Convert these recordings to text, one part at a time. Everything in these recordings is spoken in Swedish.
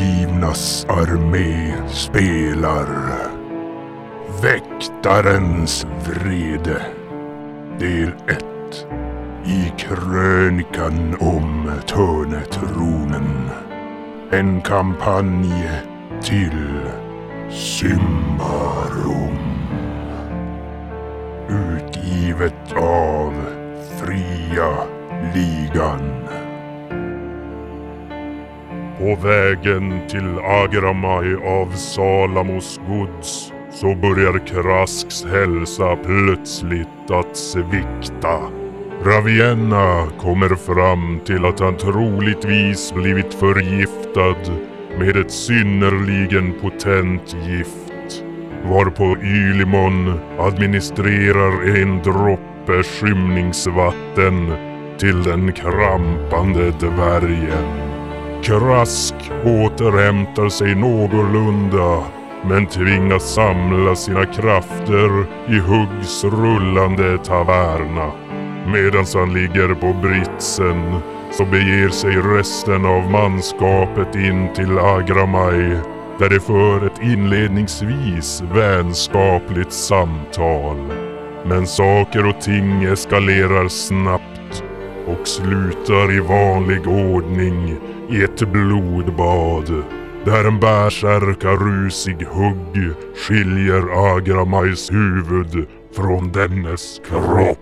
Lejonernas armé spelar Väktarens vrede Del 1 I krönikan om Törnetronen En kampanj till Symbarum Utgivet av Fria Ligan På vägen till Agramaj av Salamos gods så börjar Krasks hälsa plötsligt att svikta. Ravienna kommer fram till att han troligtvis blivit förgiftad med ett synnerligen potent gift. Varpå Ylimon administrerar en droppe skymningsvatten till den krampande dvärgen. Krask återhämtar sig någorlunda men tvingas samla sina krafter i Huggs rullande taverna. Medan han ligger på britsen så beger sig resten av manskapet in till Agramaj där de för ett inledningsvis vänskapligt samtal. Men saker och ting eskalerar snabbt och slutar i vanlig ordning i ett blodbad där en bärsärkarusig hugg skiljer Agramajs huvud från dennes kropp.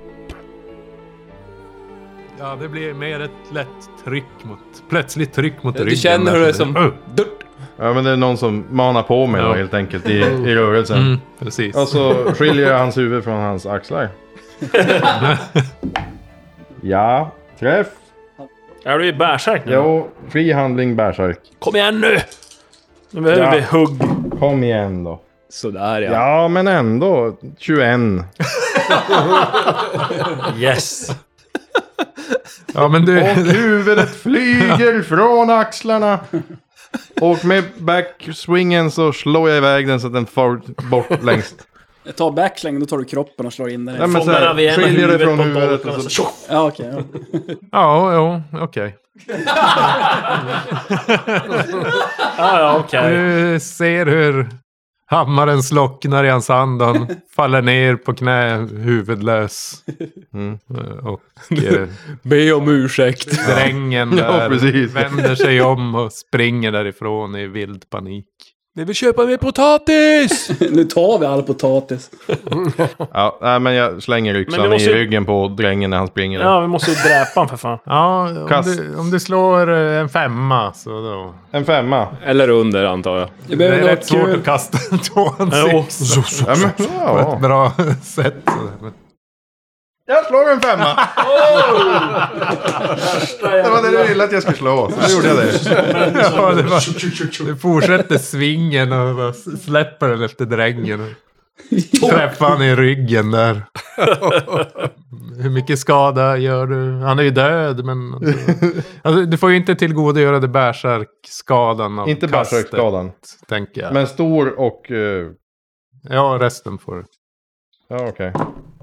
Ja, det blir mer ett lätt tryck mot... Plötsligt tryck mot Du ryggen. känner hur det är som... Uh, Durt! Ja men det är någon som manar på mig då, Ja. helt enkelt i, i rörelsen. Mm, precis. Och så skiljer jag hans huvud från hans axlar. ja, träff. Är du i bärsärk nu? Jo, fri handling bärsärk. Kom igen nu! Nu behöver Ja. vi hugg. Kom igen då. Sådär ja. Ja, men ändå. 21. Yes! Ja, men Och du... huvudet flyger från axlarna. Och med backswingen så slår jag iväg den så att den far bort längst. Jag tar backslang, då tar du kroppen och slår in den. Nej, men så Fångar här, Ravienna skiljer det huvudet från på en huvudet. boll Och och så, så Ja, okej. ja. Ja, jo, okej. Ja, ja, okej. Du ser hur hammaren slocknar i hans hand. Han faller ner på knä, huvudlös. Mm. Eh, Och eh, Be om ursäkt. drängen Ja, där precis. vänder sig om och springer därifrån i vild panik. Vi vill köpa mer potatis! Nu tar vi all potatis. ja, nej, men jag slänger Men yxan vi måste i ju- ryggen på drängen när han springer. Ja, vi måste ju dräpa honom för fan. Ja, om Kast. du, om du slår eh, en femma så då. En femma. Eller under antar jag. Jag Det behöver är något rätt svårt kul. att kasta en tvåansikts Ja, men, på ett ja. bra sätt. Jag slår en femma. Det var det du ville att jag skulle slå. Så nu gjorde jag det. Ja, det var, du fortsätter svingen och bara släpper den efter drängen. Och träffar han i ryggen där. Hur mycket skada gör du? Han är ju död men... Alltså, du får ju inte tillgodogöra dig bärsärkskadan av Inte kastet, bärsärksskadan. Tänker jag. Men stor och... eh, Ja, resten får du. ja, okej.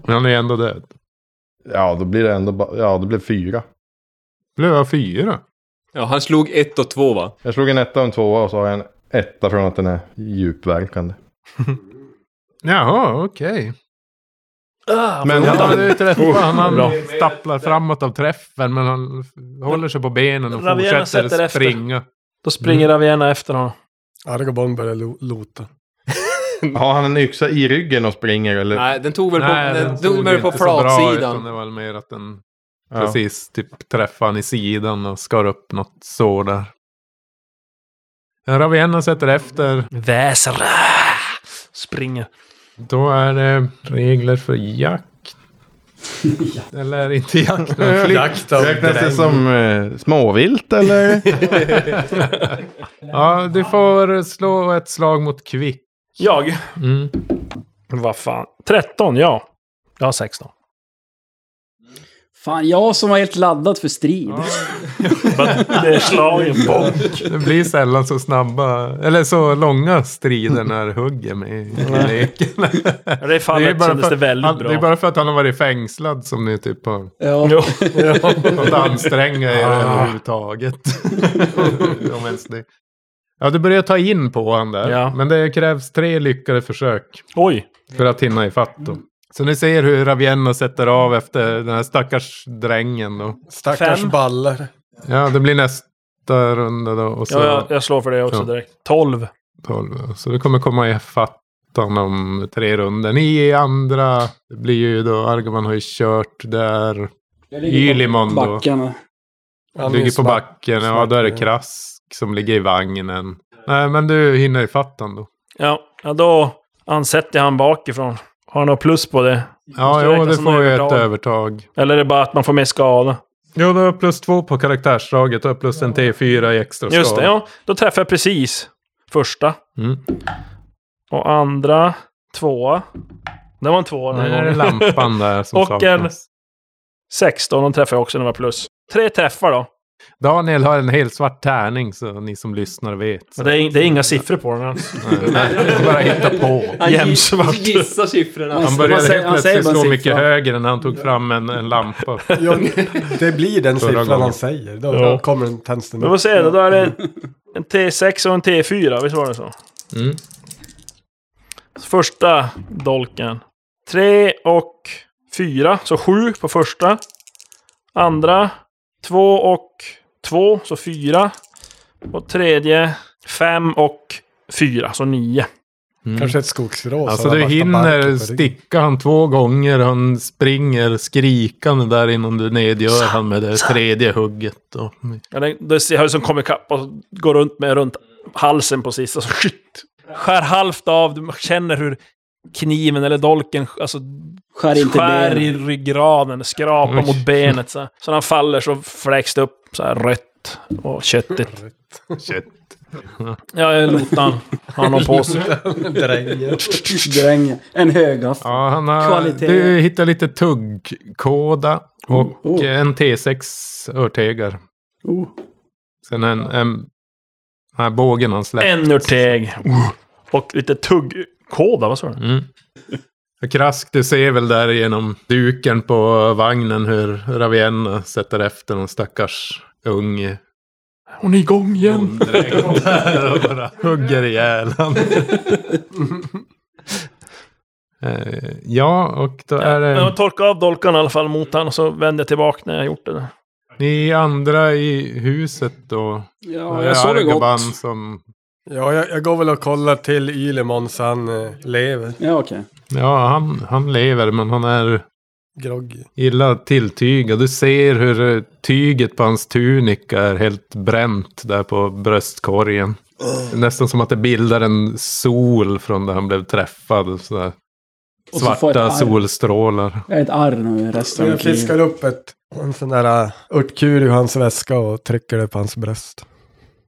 Men han är ju ändå död. Ja, då blir det ändå... ba- Ja, det blev fyra. Blev jag fyra? Ja, han slog ett och två va? Jag slog en etta och en tvåa och så har jag en etta från att den är djupverkande. Jaha, okej. Ah, Men Ja, ja, du träffar han, Bra. han stapplar framåt av träffen men han f- håller sig på benen och Ravienna sätter fortsätter efter. springa. Då springer Ravienna efter honom. Argobon börjar lo- lota. har han en yxa i ryggen och springer eller? Nej, den tog väl på, Nej, den den tog såg väl inte så på bra ut, utan flatsidan. Det var väl mer att den Ja. precis typ träffade han i sidan och skar upp något sår där. Ravienna sätter efter. Väser. Springer. Då är det regler för jakt. Eller inte jakt, men flykt. Jakt av Räknas det som eh, småvilt eller? Ja, du får slå ett slag mot kvick. Jag. Mm. Vad fan. 13, ja. Jag har 16. Fan, jag som var helt laddad för strid. Det är slagen. Bomb. Det blir sällan så snabba, eller så långa strider när hugg är med i leken. Det är fallet bara kändes för- det väldigt han, bra. Det är bara för att han har varit fängslad som ni typ har Ja. Jo. Ah. Att anstränga er överhuvudtaget. Om ens det. Ja, du börjar ta in på han där. Ja. Men det krävs tre lyckade försök Oj! för att hinna ifatt då. Så ni ser hur Ravienna sätter av efter den här stackars drängen då. Stackars Fem. baller. Ja, det blir nästa runda då. Och så Ja, jag, jag slår för det också Ja. direkt. 12. 12. då. Så du kommer komma ifatt honom om tre runder. Ni i andra det blir ju då, Argoman har ju kört där. Jag Ylimon då. backarna. Han är ligger på snabb. backen, ja då är det snack- Krask som ligger i vagnen. Nej, men du hinner ifatt honom då. Ja, ja, då ansätter jag han bakifrån. Har han något plus på det? Ja, Måste jo, räknas det som får ju ett övertag. övertag. Eller är det bara att man får mer skada? Jo, du har plus två på karaktärsdraget och plus en T4 i extra skada. Just det, ja. Då träffar jag precis första. Mm. Och andra, tvåa. Det var en tvåa den Nu är här det gången. lampan där som Och en saknas. 16, de träffar jag också när det var plus. Tre träffar då. Daniel har en helt svart tärning så ni som lyssnar vet. Men det är, det är inga siffror på den alls. Nej, det är bara att hitta på. Han Jämnsvart. gissar siffrorna. Han Man började säger- helt han säger plötsligt bara slå mycket siffran. högre när han tog fram en, en lampa. Ja, det blir den Förra siffran gången. han säger. Då Ja. kommer den tänds den Men vad säger du? Då är det en T6 och en T4, visst var det så? Mm. Första dolken. Tre och fyra, så sju på första. Andra, två och två, så fyra. Och tredje, fem och fyra, så nio. Kanske ett skogsrå. så Alltså han du har värsta barken på hinner ryggen. sticka han två gånger. Han springer skrikande där innan du nedgör han med det tredje hugget. Och, Ja, det, det jag har liksom kommit ikapp och går runt med runt halsen på sista. Så skit, skär halvt av, du känner hur kniven eller dolken alltså, Skär inte skär ben. i ryggraden, skrapar Oj. mot benet. Så, här. så när han faller så fläks det upp så här rött och köttigt. Shit. Ja, jag lotar han. Han har på sig. Drängen. Dräng. En högaffel. Ja, han har, Kvalitet. Du hittar lite tuggkåda och Oh. en T6 örtegar. Oh. Sen en, en den här bågen han släpper. En örteg. Och lite tuggkåda, vad sa du? Mm. Krask, du ser väl där genom duken på vagnen hur Ravienna sätter efter någon stackars ung Hon är igång igen. bonddräng där och bara hugger ihjäl han. Eh, Ja, och då är Men det jag torkar av dolkarna i alla fall mot han och så vänder jag tillbaka när jag gjort det. där. ni andra i huset då. Ja, jag såg det Argaban gott. som Ja, jag, jag går väl och kollar till Ylemon så han eh, lever. Ja, okej. Ja, han, han lever men han är Groggy. illa tilltygad. Du ser hur eh, tyget på hans tunika är helt bränt där på bröstkorgen. Nästan som att det bildar en sol från där han blev träffad. Sådär. Och så får Svarta ett arr. solstrålar. Jag är ett arr nu Så resten av jag mitt liv. fiskar upp ett, en sån där eh, örtkur ur hans väska och trycker det på hans bröst.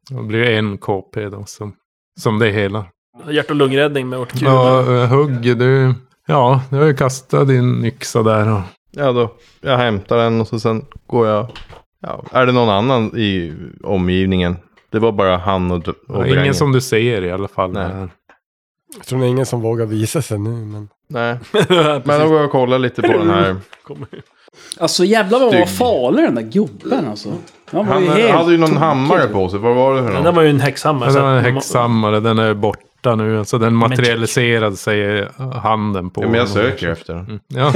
Det blir en KP då som, som det hela. Hjärt och lungräddning med örtkula. Ja, eh, Hugg, du, ja, du har ju kastat din yxa där. Och, Ja då, jag hämtar den och så sen går jag. Ja, är det någon annan i omgivningen? Det var bara han och, och och drängen. ingen som du ser i alla fall. Nej. där. Jag tror det är ingen som vågar visa sig nu, men... Nej, men då går jag och kollar lite på den här. Alltså jävlar vad han var Stygg. farlig den där gubben alltså. Han var Han ju helt... hade ju någon tokig. hammare på sig. Vad var det för Den där något? var ju en häxhammare. Alltså, Ja, så den är att- häxhammare, den är borta nu. Alltså den materialiserade sig i handen på Ja, men jag honom. söker efter den. Mm. Ja,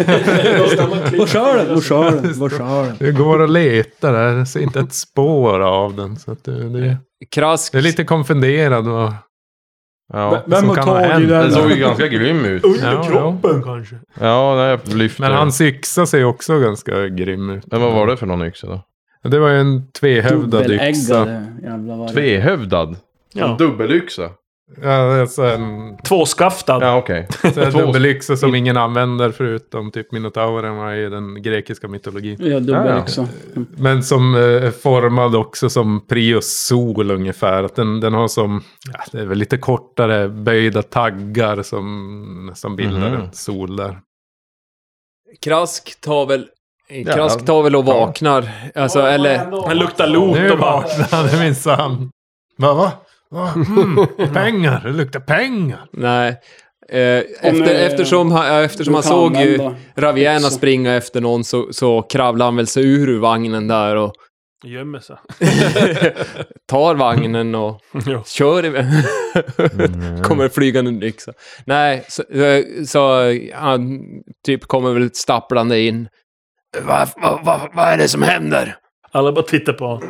Var kör den? Var kör den? Var kör den? du går och letar där, jag ser inte ett spår av den. Så att du, du, Krask. du är lite konfunderad. Vad Ja. vem som kan ha hänt. Den såg ju ganska grym ut. Ja, ja. Kroppen kanske. Ja, nej, jag lyfter Men den. hans yxa ser också ganska grym ut. Men vad var det för någon yxa då? Det var ju en tvehövdad yxa. Dubbeläggade jävla vad det- Tvehövdad? Ja. En dubbelyxa? Ja, alltså en Tvåskaftad. Ja, okej. så en Två- dubbelyxa som ingen använder förutom typ minotaurerna i den grekiska mytologin. Ja, Ja, ja. dubbel också. Men som eh, är formad också som Prius Sol ungefär. Att den, den har som, ja, det är väl lite kortare böjda taggar som nästan bildar Mhm. en sol där. Krask tar väl... Jävlar. Krask tar väl och vaknar. Alltså, eller... Han luktar lot Nu och bara... vaknade minsann. Va, va? Va? Mm, pengar, det luktar pengar. Nej. Eh, Om, efter, eh, eftersom han, ja, eftersom du han kan såg ju använda Raviana yxa. springa efter någon så, så kravlade han väl sig ur ur vagnen där och Gömmer sig. Tar vagnen och Jo. kör iväg. kommer flygande en yxa. Nej, så, eh, så eh, han typ kommer väl stapplande in. Vad va, va, vad är det som händer? Alla bara tittar på honom.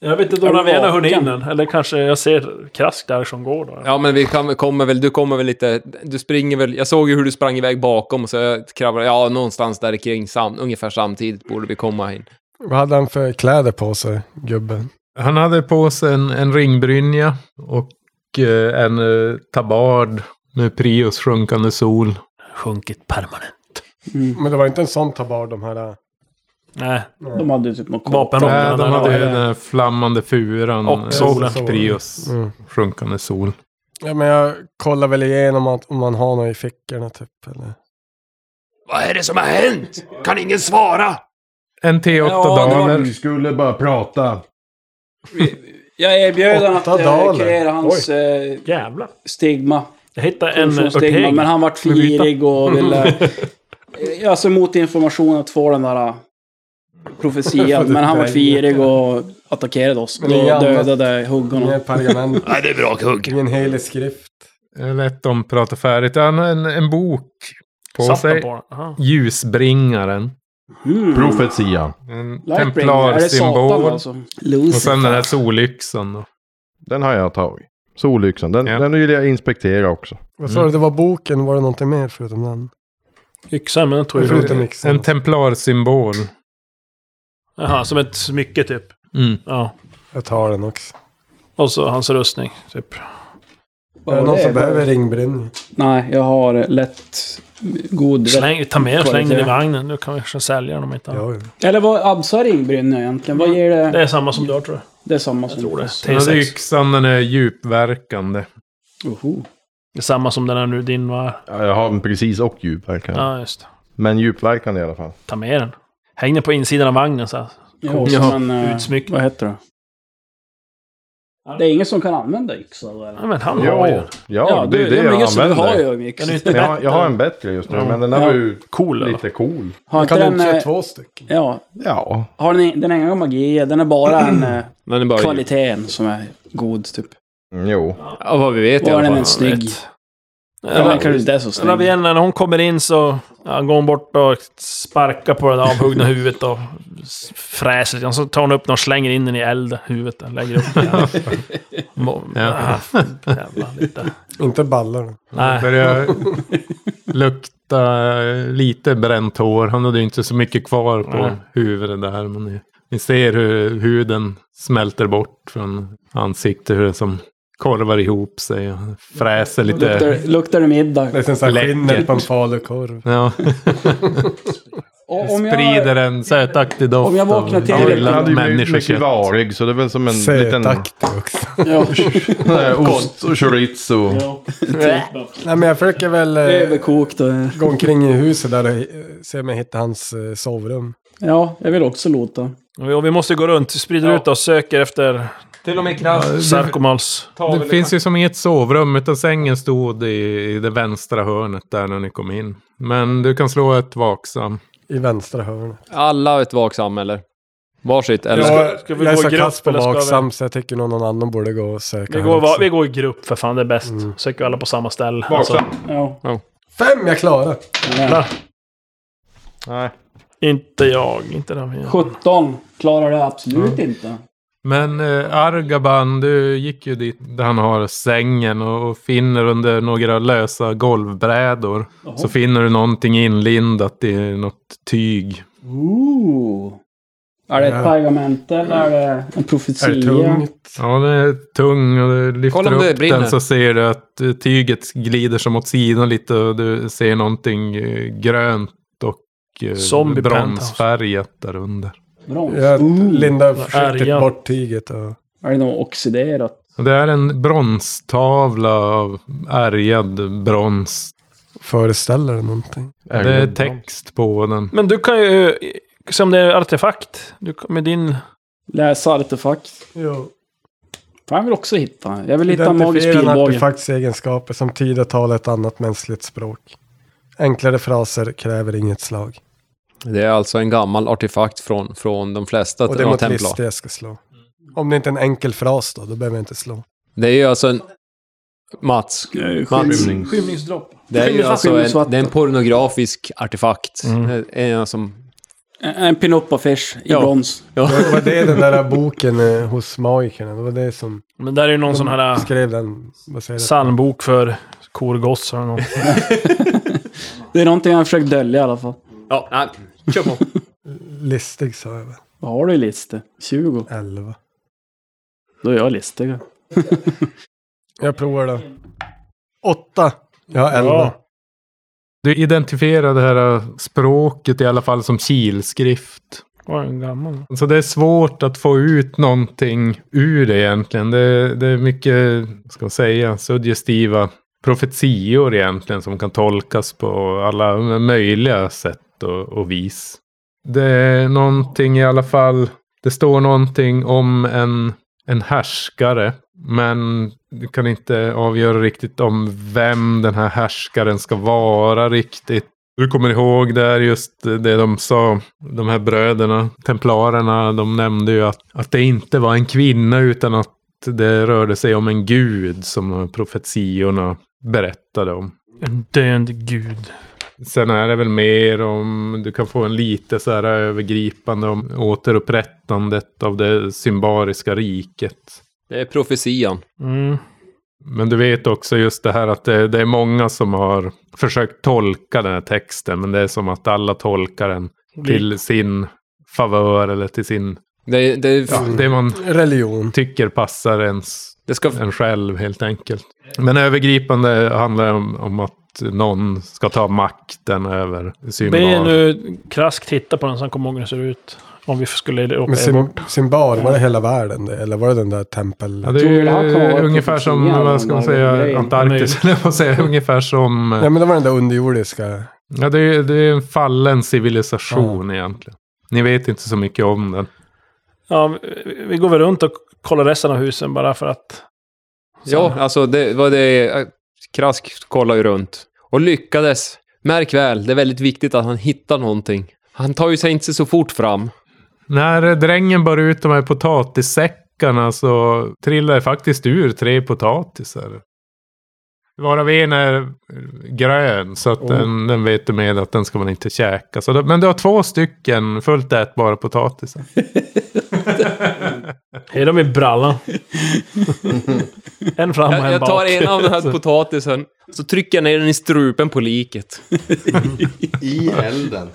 Jag vet inte om Är du Ravena hunnit in vaken? än. Eller kanske jag ser Krask där som går då. Ja, men vi kan, kommer väl, du kommer väl lite, du springer väl, jag såg ju hur du sprang iväg bakom så jag kravlade, ja, någonstans där kring, sam, ungefär samtidigt borde vi komma in. Vad hade han för kläder på sig, gubben? Han hade på sig en, en ringbrynja och eh, en eh, tabard med Prius sjunkande sol. Sjunkit permanent. Men det var inte en sån tabard de här... eh, Nej, Nej. De hade ju typ något kort. vapen Nej, Äh, de hade ju ja. den här flammande furan. Och eh, solen. Prius Mm. sjunkande sol. Ja, men jag kollar väl igenom att, om man har något i fickorna typ. Eller? Vad är det som har hänt? Kan ingen svara? En T8 Ja, det var- daler. Vi skulle bara prata. Jag erbjöd honom att Åtta eh, daler. kreera hans eh, Jävlar. stigma. Jag hittade en Korruptionsstigma. örthägn. Men han vart Med byta. flirig och ville... Eh, alltså mot information att få den där eh, profetian. men han vart flirig och attackerade oss. Då Men det är annat- dödade hugg honom. Inget pergament, Nej, det är bra hugg. ingen helig skrift. eh, Lätt om prata färdigt. Han har en, en bok på Satt han sig. på den? Aha. Ljusbringaren. Mm. Profetia. En Lightbringer. Är det Satan templarsymbol. alltså? Och sen den Lucifer. här solyxan då. Den har jag tagit. Solyxan. Den, Ja. den vill jag inspektera också. Vad sa du, det var boken, var det någonting mer förutom den? Yxan, men den tog ju Förutom yxan. En templarsymbol. Jaha, som ett smycke typ. Mm. Ja. Jag tar den också. Och så hans rustning, typ. Är det någon det är som behöver ringbrynja? Nej, jag har eh, lätt god... Släng, ta med släng den i Kvalitet. vagnen. Du kan vi kanske sälja den om inte annat. Ja, ja. Eller vad absar ringbrynja egentligen? Vad ger det? Det är samma som du har tror jag. Det är samma som... Jag tror det. Den hade T6. yxan, den är djupverkande. Oho. Det är samma som den här nu din var. Ja, jag har den precis och djupverkan. Ja, just det. Men djupverkan i alla fall. Ta med den. Häng den på insidan av vagnen så här. Ja, och Ja, så en, eh, utsmyckning. Vad heter det? Det är ingen som kan använda yxa då eller? Ja, men han har ju den. ja, det är det men jag just det, du använder. har ju en yxa. Den är inte Men jag, bättre. har- jag har en bättre just nu, men den här Ja. var ju Cool eller? lite cool. Har inte Kan du den... inte säga eh, två stycken? Ja, Ja, har den, den har ingen magi, den är bara en... eh, Den är bara Kvaliteten som är god typ. mm, jo. Ja, vad vi vet i Var alla den fall. en snygg? Ja, den Eller, kanske inte är så snygg. Ravienna, när hon kommer in så ja, går hon bort och sparkar på det där avhuggna huvudet och s- fräser lite. Så tar hon upp den och slänger in den i elden, huvudet. och Lägger upp den. Mo- Ja. Ah, jävlar, lite. Inte ballar. Nej. Börjar lukta lite bränt hår. Han hade ju inte så mycket kvar på Nej. huvudet där. Men ni, ni ser hur huden smälter bort från ansiktet. Hur det som korvar ihop sig. och Fräser lite. Luktar, luktar det middag? Det är som så här Läckert. skinnet på en falukorv. Ja, Och om jag, sprider en sötaktig doft om jag vaknar av till- Han Gillar hade grillat ju blivit mycket människokött. varig, så det är väl som en liten Sötaktig också. ja, Nej, ost och chorizo. Nej, men jag försöker väl eh, överkokt och... gå omkring i huset där och eh, se om jag hittar hans eh, sovrum. Ja, jag vill också låta. Och vi- Och vi måste gå runt, sprider ut och söker efter Till och med kraft. Sarkomals. Det finns ju som inget sovrum, utan sängen stod i, i det vänstra hörnet där när ni kom in. Men du kan slå ett vaksam. I vänstra hörnet. Alla har ett vaksam, eller? Varsitt, eller? Jag ska vi jag är gå i så grupp, kass på eller ska vi- vaksam så jag tycker nog någon annan borde gå och söka. Vi här går, va- också. vi går i grupp för fan, det är bäst. Söker alla på samma ställe. Alltså, Ja. Fem, jag klarar! Ja. Nej. inte jag, inte Ravena. 17 klarar det absolut inte. Men eh, Argaban, du gick ju dit där han har sängen och, och finner under några lösa golvbrädor. Så finner du någonting inlindat i något tyg. Ooh. Är det ett pergament eller är det en Är det profetia? tungt? Ja, den är tung och du lyfter Kolla om det upp brinner. den så ser du att eh, tyget glider som åt sidan lite och du ser någonting eh, grönt och eh, Zombie bronsfärgat där under. Brons? Jag lindar Arga. försiktigt bort tyget. Och... Är det något oxiderat? Det är en bronstavla av ärgad brons. Föreställer det någonting? Det är text på den. Men du kan ju, som det är artefakt, du, kan- med din... Läsa artefakt? Jo. Fan, jag vill också hitta. Jag vill hitta en magisk Identifiera en pilbåge. artefakts egenskaper som tyder talet ett annat mänskligt språk. Enklare fraser kräver inget slag. Det är alltså en gammal artefakt från, från de flesta Och det är av mot templar. list det jag ska slå. Om det inte är en enkel fras då, då behöver jag inte slå. Det är ju alltså en... Mats, Eh, Mats. Skymnings, skymningsdropp. det är ju Skymningsvatten. alltså en, Skymningsvatten. det är en pornografisk artefakt. Mm. Det är en som, En, en pinuppa-fish i Ja. brons. Det var det den där boken eh, hos magikerna, det var det som... Men där är ju någon sån här äh, Skrev den, vad säger det? psalmbok för korgossar och något. Det är någonting han försökt dölja i alla fall. ja, nej, kör på. Listig sa jag väl? Vad har du i liste? 20? 11. Då är jag listig. Jag provar då. 8. Jag har 11. Ja. Du identifierar det här eh, språket i alla fall som kilskrift. Var den gammal? Så det är svårt att få ut någonting ur det egentligen. Det, det är mycket, vad ska man säga, suggestiva profetior egentligen som kan tolkas på alla möjliga sätt och, och vis. Det är någonting i alla fall, det står någonting om en, en härskare. Men du kan inte avgöra riktigt om vem den här härskaren ska vara riktigt. Du kommer ihåg där just det de sa, de här bröderna, templarerna, de nämnde ju att, att det inte var en kvinna utan att det rörde sig om en gud som de här profetiorna berättade om. En död gud. Sen är det väl mer om, du kan få en lite så här övergripande om återupprättandet av det symbariska riket. Det är profetian. Mm. Men du vet också just det här att det, det är många som har försökt tolka den här texten. Men det är som att alla tolkar den till sin favör eller till sin... Det, det, Ja, Mm. det man Religion. tycker passar ens det ska... en själv helt enkelt. Men övergripande handlar det om, om att någon ska ta makten över Be Symbar. nu Krask titta på den så han kommer ihåg hur den ser ut. Om vi skulle råka Men i bort. Sim- Simbar, var det hela världen det? Eller var det den där tempel... Ja, det är Tror du det här kan ju vara ungefär som, profetian, vad ska man den där säga, grejen? Antarktis, eller vad säger jag, ungefär som... Nej men det var den där underjordiska. Ja, det är, det är en fallen civilisation egentligen. Ni vet inte så mycket om den. Ja, vi- vi går väl runt och kollar resten av husen bara för att... Ja, alltså det var det... Krask kollar ju runt. Och lyckades. Märk väl, det är väldigt viktigt att han hittar någonting. Han tar ju sig inte så fort fram. När eh, drängen bar ut de här potatissäckarna så trillade det faktiskt ur tre potatisar. Varav en är eh, grön, så att Oh. den, den vet du med att den ska man inte käka. Så det, men du har två stycken fullt ätbara potatisar. Är de i brallan? en fram och en Jag, jag bak. tar en av den här potatisen, så trycker jag ner den i strupen på liket. I elden.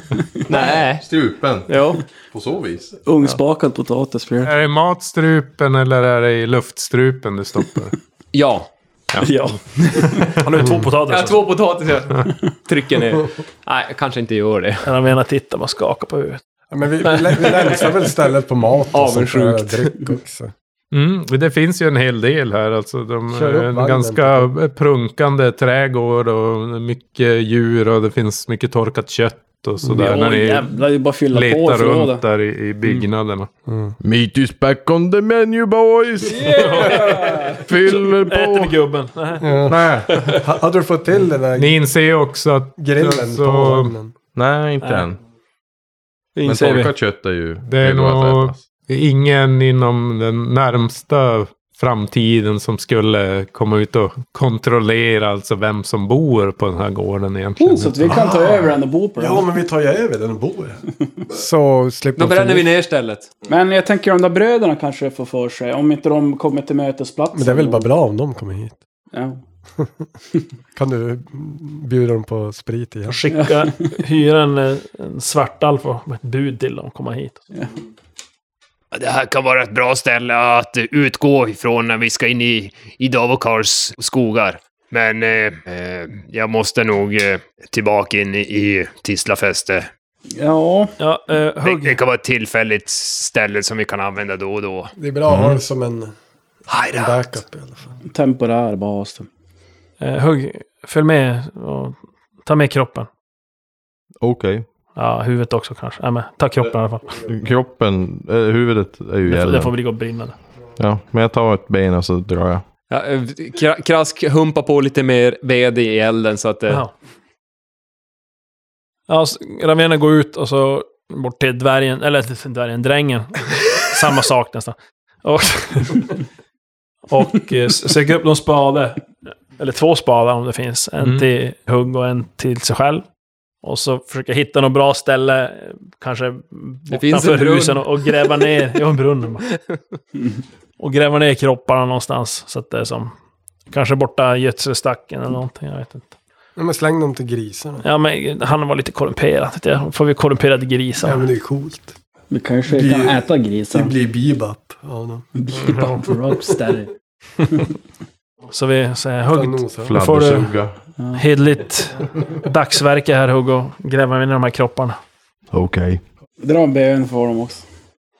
Nej. Strupen. Ja. På så vis. Ugnsbakad potatis blir det. Är det i matstrupen eller är det i luftstrupen du stoppar? Ja. Ja. Han har ju två Jag potatisar. har två potatisar. Trycker ner. Nej, jag kanske inte gör det. En av ena tittar bara skakar på huvudet. Ja, men vi, vi, lä- vi länsar väl stället på mat och sånt där, Avundsjukt. dryck också. Mm, det finns ju en hel del här. Alltså, de Kör är upp en vagnen. ganska prunkande trädgård och mycket djur och det finns mycket torkat kött och sådär. Mm. när Oj, ni jävlar, det är bara att fylla på letar i runt förrådet. där i, i byggnaderna. Meat is back on the menu boys! Fyller Äter ni på! gubben? Nej. Nej. Ha- Hade du fått till den där Ni inser ju också att grillen på så, vagnen? Nej, inte Nej. än. Det Men inser vi. torkat kött är ju Det är redo att nog- ätas. ingen inom den närmsta framtiden som skulle komma ut och kontrollera alltså vem som bor på den här gården egentligen. Oh, Så att vi kan ta över den och bo på den. Ja men vi tar ju över den och bor här. Så slipper Då bränner vi förlust. ner stället. Men jag tänker de där bröderna kanske får för sig. Om inte de kommer till mötesplatsen. Men det är väl bara bra om de kommer hit. Ja. Kan du bjuda dem på sprit igen? Skicka, hyra en, eh, en svartalf och ett bud till dem att komma hit. Det här kan vara ett bra ställe att utgå ifrån när vi ska in i, i Davokars skogar. Men eh, eh, jag måste nog eh, tillbaka in i, i Tislafäste. ja. Ja, eh, Det, det hugg. kan vara ett tillfälligt ställe som vi kan använda då och då. Det är bra att ha Mm. det som en, en Hajda! backup i alla fall. Temporär bas. Eh, hugg. Följ med och ta med kroppen. Okej. Ja, huvudet också kanske. Nej, men ta kroppen i alla fall. Kroppen, eh, huvudet är ju i Det får, det elden. får bli gå brinnande. Ja, men jag tar ett ben och så drar jag. Ja, eh, kra- krask humpar på lite mer ved i elden så att det... Jaha. Ja, så Ravena går ut och så bort till dvärgen, eller till dvärgen, drängen. Samma sak nästan. Och, och eh, s- söker upp någon spade. Eller två spadar om det finns. En Mm. till hugg och en till sig själv. Och så försöker hitta något bra ställe, eh, kanske finns bortanför en brunn. husen och, och gräva ner, ja en brunn. bara. Och gräva ner kropparna någonstans. Så att det är som, kanske borta i gödselstacken eller någonting, jag vet inte. Ja, men släng dem till grisarna. Ja, men han var lite korrumperad. Det får vi korrumperade grisar. Ja, men det är coolt. Vi kanske Det kan blir- äta Det grisen. blir bebop av dem. Bebop rocksteady. Så vi säger hugg. Utan Då får du Fladdersuga. hederligt dagsverke här Hugg och gräva ner de här kropparna. Okej. Dra en bön för dem också.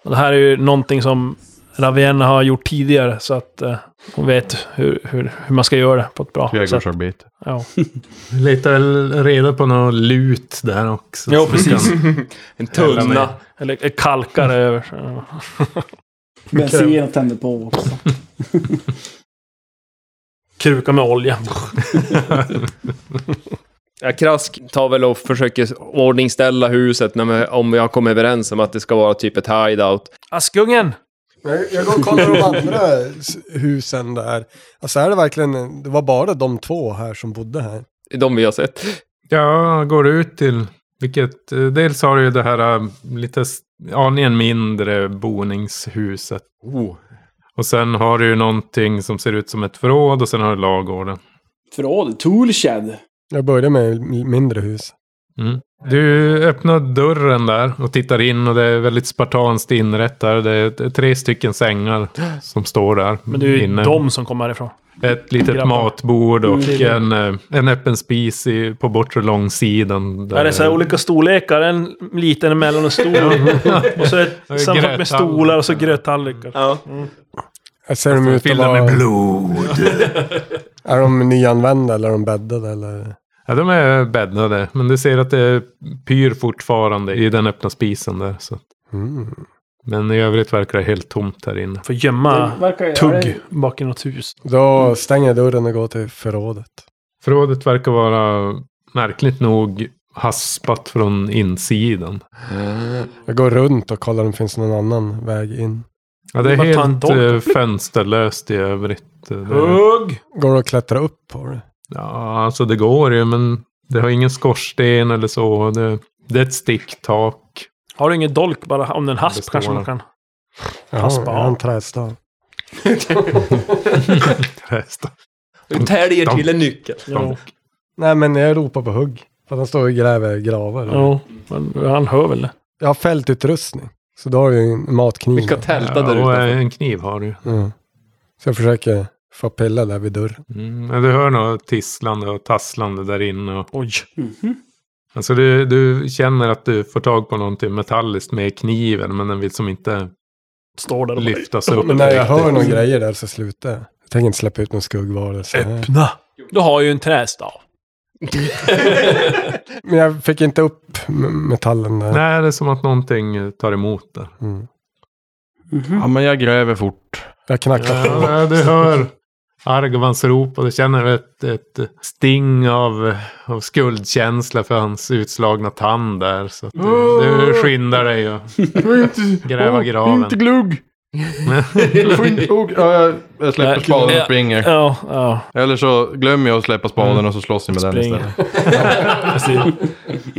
Och det här är ju någonting som Ravienna har gjort tidigare så att eh, hon vet hur, hur, hur man ska göra det på ett bra sätt. Trädgårdsarbete. Ja. Vi letar väl reda på något lut där också. Ja, som vi precis. kan- En Hälla tunna. ner. Eller eh, kalkar över. så, eh, ja. Bensinen tänder på också. Kruka med olja. Ja, Krask tar väl och försöker ordningställa huset när vi, om vi har kommit överens om att det ska vara typ ett hideout. Askungen! Jag, jag går och kollar de andra s- husen där. Alltså är det verkligen, det var bara de två här som bodde här. De vi har sett. Ja, går ut till... Vilket, eh, dels har du ju det här eh, lite s- aningen mindre boningshuset. Oh. Och sen har du ju någonting som ser ut som ett förråd och sen har du lagården. Förråd. Toolshed. Jag började med m- mindre hus. Mm. Du öppnar dörren där och tittar in och det är väldigt spartanskt inrett där. Det är t- tre stycken sängar som står där. Men det är ju inne. de som kommer härifrån. Ett litet Grabbar. matbord och Mm. en, eh, en öppen spis i, på bortre långsidan. Ja, det är så här olika storlekar. En liten, en mellan och stor. och så ett, samma med stolar och så gröttallrikar. Ja. Jag ser dem ut att Fyllda med vara... blod. Är de nyanvända eller är de bäddade eller? Ja, de är bäddade. Men du ser att det pyr fortfarande i den öppna spisen där. Så. Mm. Men i övrigt verkar det helt tomt här inne. Får gömma Det verkar- tugg bak i något hus. Mm. Då stänger jag dörren och går till förrådet. Förrådet verkar vara märkligt nog haspat från insidan. Jag går runt och kollar om det finns någon annan väg in. Ja, det är Bara ta en helt dolk. eh, fönsterlöst i övrigt. Eh, Det, Hugg! Går det att klättra upp på det? ja, alltså det går ju, men det har ingen skorsten eller så. Det, det är ett sticktak. Har du ingen dolk bara? Om det är en Det hasp står kanske man där. kan... Jaha, Haspa jag har en av. trästav. Resten. Du täljer De- till en nyckel. Jo, Nej men jag ropar på hugg. För att han står och gräver gravar. jo, men han hör väl det. Jag har fältutrustning. Så då har jag ju en matkniv. Vilka tältar där Ja, och ute. en kniv har du. Mm. Så jag försöker få pilla där vid dörren. Mm, men du hör något tisslande och tasslande där inne. Och, Oj. alltså du, du känner att du får tag på någonting metalliskt med kniven, men den vill som inte Står där och bara, lyftas upp. Men när jag riktigt. hör några grejer där så slutar jag. Jag tänker inte släppa ut någon skuggvarelse. här. Öppna! Du har ju en trästav. Men jag fick inte upp m- metallen där. Nej, det är som att någonting eh, tar emot där. Mm. Ja, men jag gräver fort. Jag knackar på. Ja, du hör Argovans rop och du känner ett, ett sting av, av skuldkänsla för hans utslagna tand där. Så att du, du skyndar dig och gräva graven. Inte glugg! Du får inte hugg. Ja, jag- jag släpper Nej. spaden Ja. och springer. Ja, ja. Eller så glömmer jag att släppa spaden och så slåss ni med den Mm. Spring. istället. Precis.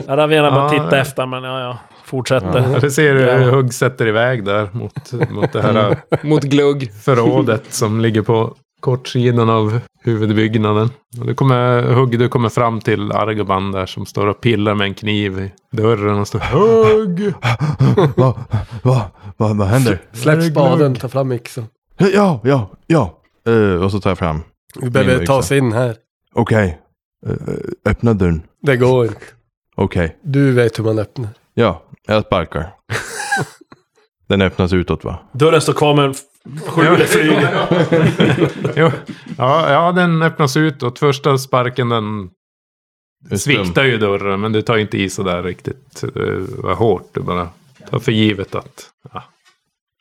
Ja, Ravena bara Ja, titta ja. efter, men ja, ja. Fortsätter. Ja, du ser hur Hugg sätter iväg där mot, mot det här eh, Mot glugg. förrådet som ligger på kortsidan av huvudbyggnaden. Och du kommer, Hugg, du kommer fram till Argoban där som står och pillar med en kniv i dörren och står Hugg! Vad va, va, vad händer? Släpp spaden, ta fram yxan. Ja, ja, ja. Eh, och så tar jag fram. Vi behöver yxa. ta oss in här. Okej. Eh, Öppna dörren. Det går inte. Okej. Du vet hur man öppnar. Ja, jag sparkar. den öppnas utåt va? Dörren står kvar men hjulet flyger. Jo. Ja, ja, den öppnas ut och första sparken den Stum. sviktar ju dörren. Men du tar inte i sådär riktigt uh, hårt. Du bara tar för givet att... Ja.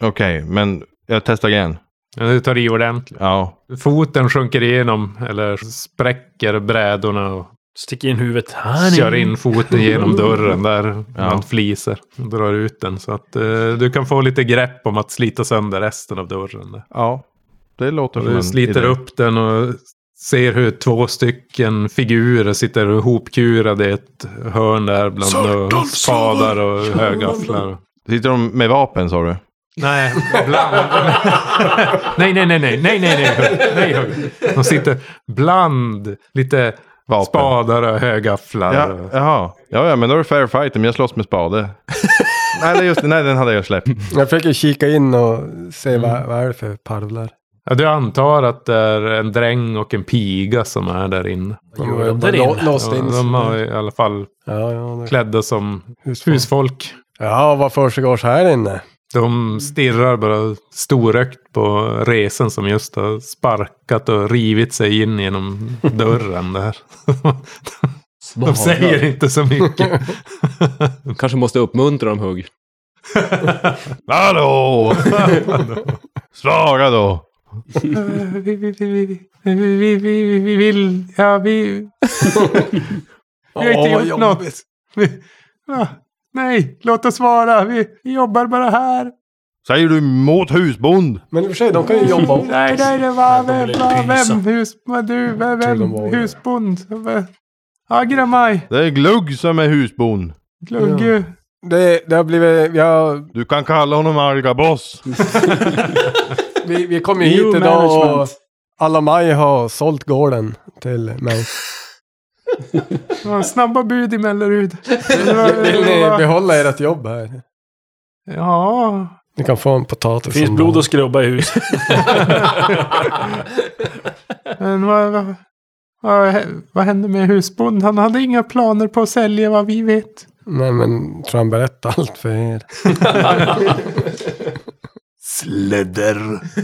Okej, men jag testar igen. Men Du tar i ordentligt. Ja, Foten sjunker igenom eller spräcker brädorna. Och Sticker in huvudet här Kör in foten genom dörren där. Man fliser. Och drar ut den. Så att eh, du kan få lite grepp om att slita sönder resten av dörren. Där. Ja, det låter som Du en sliter idé. upp den och ser hur två stycken figurer sitter hopkurade i ett hörn där bland eh, spadar och högafflar. Sitter de med vapen sa du? Nej, bland... nej, nej, nej, nej, nej, nej, nej, nej, nej. De sitter bland lite spadar och högafflar. Ja, jaha. Ja, ja, men då är det fair fight. Men jag slåss med spade. nej, det är just, det. nej, den hade jag släppt. Jag försöker kika in och se Mm. vad, vad är det för parvlar. Ja, du antar att det är en dräng och en piga som är där inne. Jo, jag bara lo- låste in. Ja, De har i alla fall Ja, ja, det- klädda som husfolk. ja vad försiggår här inne? De stirrar bara storögt på resen som just har sparkat och rivit sig in genom dörren där. De säger inte så mycket. Kanske måste uppmuntra dem hugg. Hallå! Svara då! vi, vi, vi, vi, vi, vi, vi vill... Ja, vi... vi har inte Åh, vad gjort något. Vi, ah, nej, låt oss vara. Vi vi jobbar bara här. Säger du mot husbond? Men i och för sig, de kan ju jobba åt Nej, oss. nej, det var vem, vill var, pysa. vem, hus, vad du, vem, Tror de vem var- husbond? Agramaj, Det är Glugg som är husbond. Glugge. Det, det har blivit... Vi, har, Du kan kalla honom arga boss. vi, vi kom ju New hit idag och management. alla maj har sålt gården till mig. Det var snabba bud i Mellerud. Vill ni behålla ert jobb här? Ja, Ni kan få en potatis. Det finns om blod dagen. och skrubba i huset. men vad, vad, vad, vad hände med husbond? Han hade inga planer på att sälja vad vi vet. Nej men, tror han berättar allt för er. Sledder.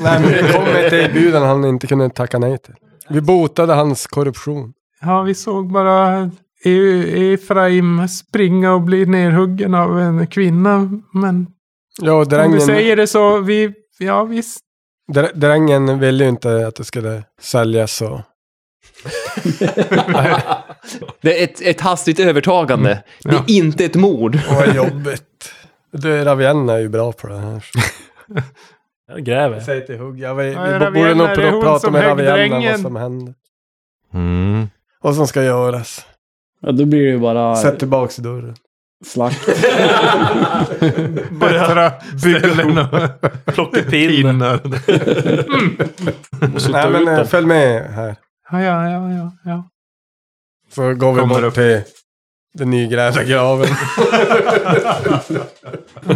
Nej men det kom ett erbjudande han inte kunde tacka nej till. Vi botade hans korruption. Ja, vi såg bara E- Efraim springa och bli nerhuggen av en kvinna. Men Ja, och om du drängen, säger det så, vi, ja visst. dr- drängen ville ju inte att det skulle säljas så. Det är ett, ett hastigt övertagande. Det är inte ett mord. Vad jobbigt. Du, Ravienna är ju bra på det här. Jag gräver. Säg till Hugg, jag vet, Ja, vi Ravienna, borde nog det är hon prata som med högg Ravienna drängen. vad som händer. Mm. Vad som ska göras. Ja, då blir det ju bara Sätt tillbaks dörren. slakt. Bättra ställen och Plockepinn. pinnar. Och sutta ut Nej men eh, dem. följ med här. Ja, ja, ja, ja. ja. Så går vi Kommer bort upp. till den nygrävda graven. Eh,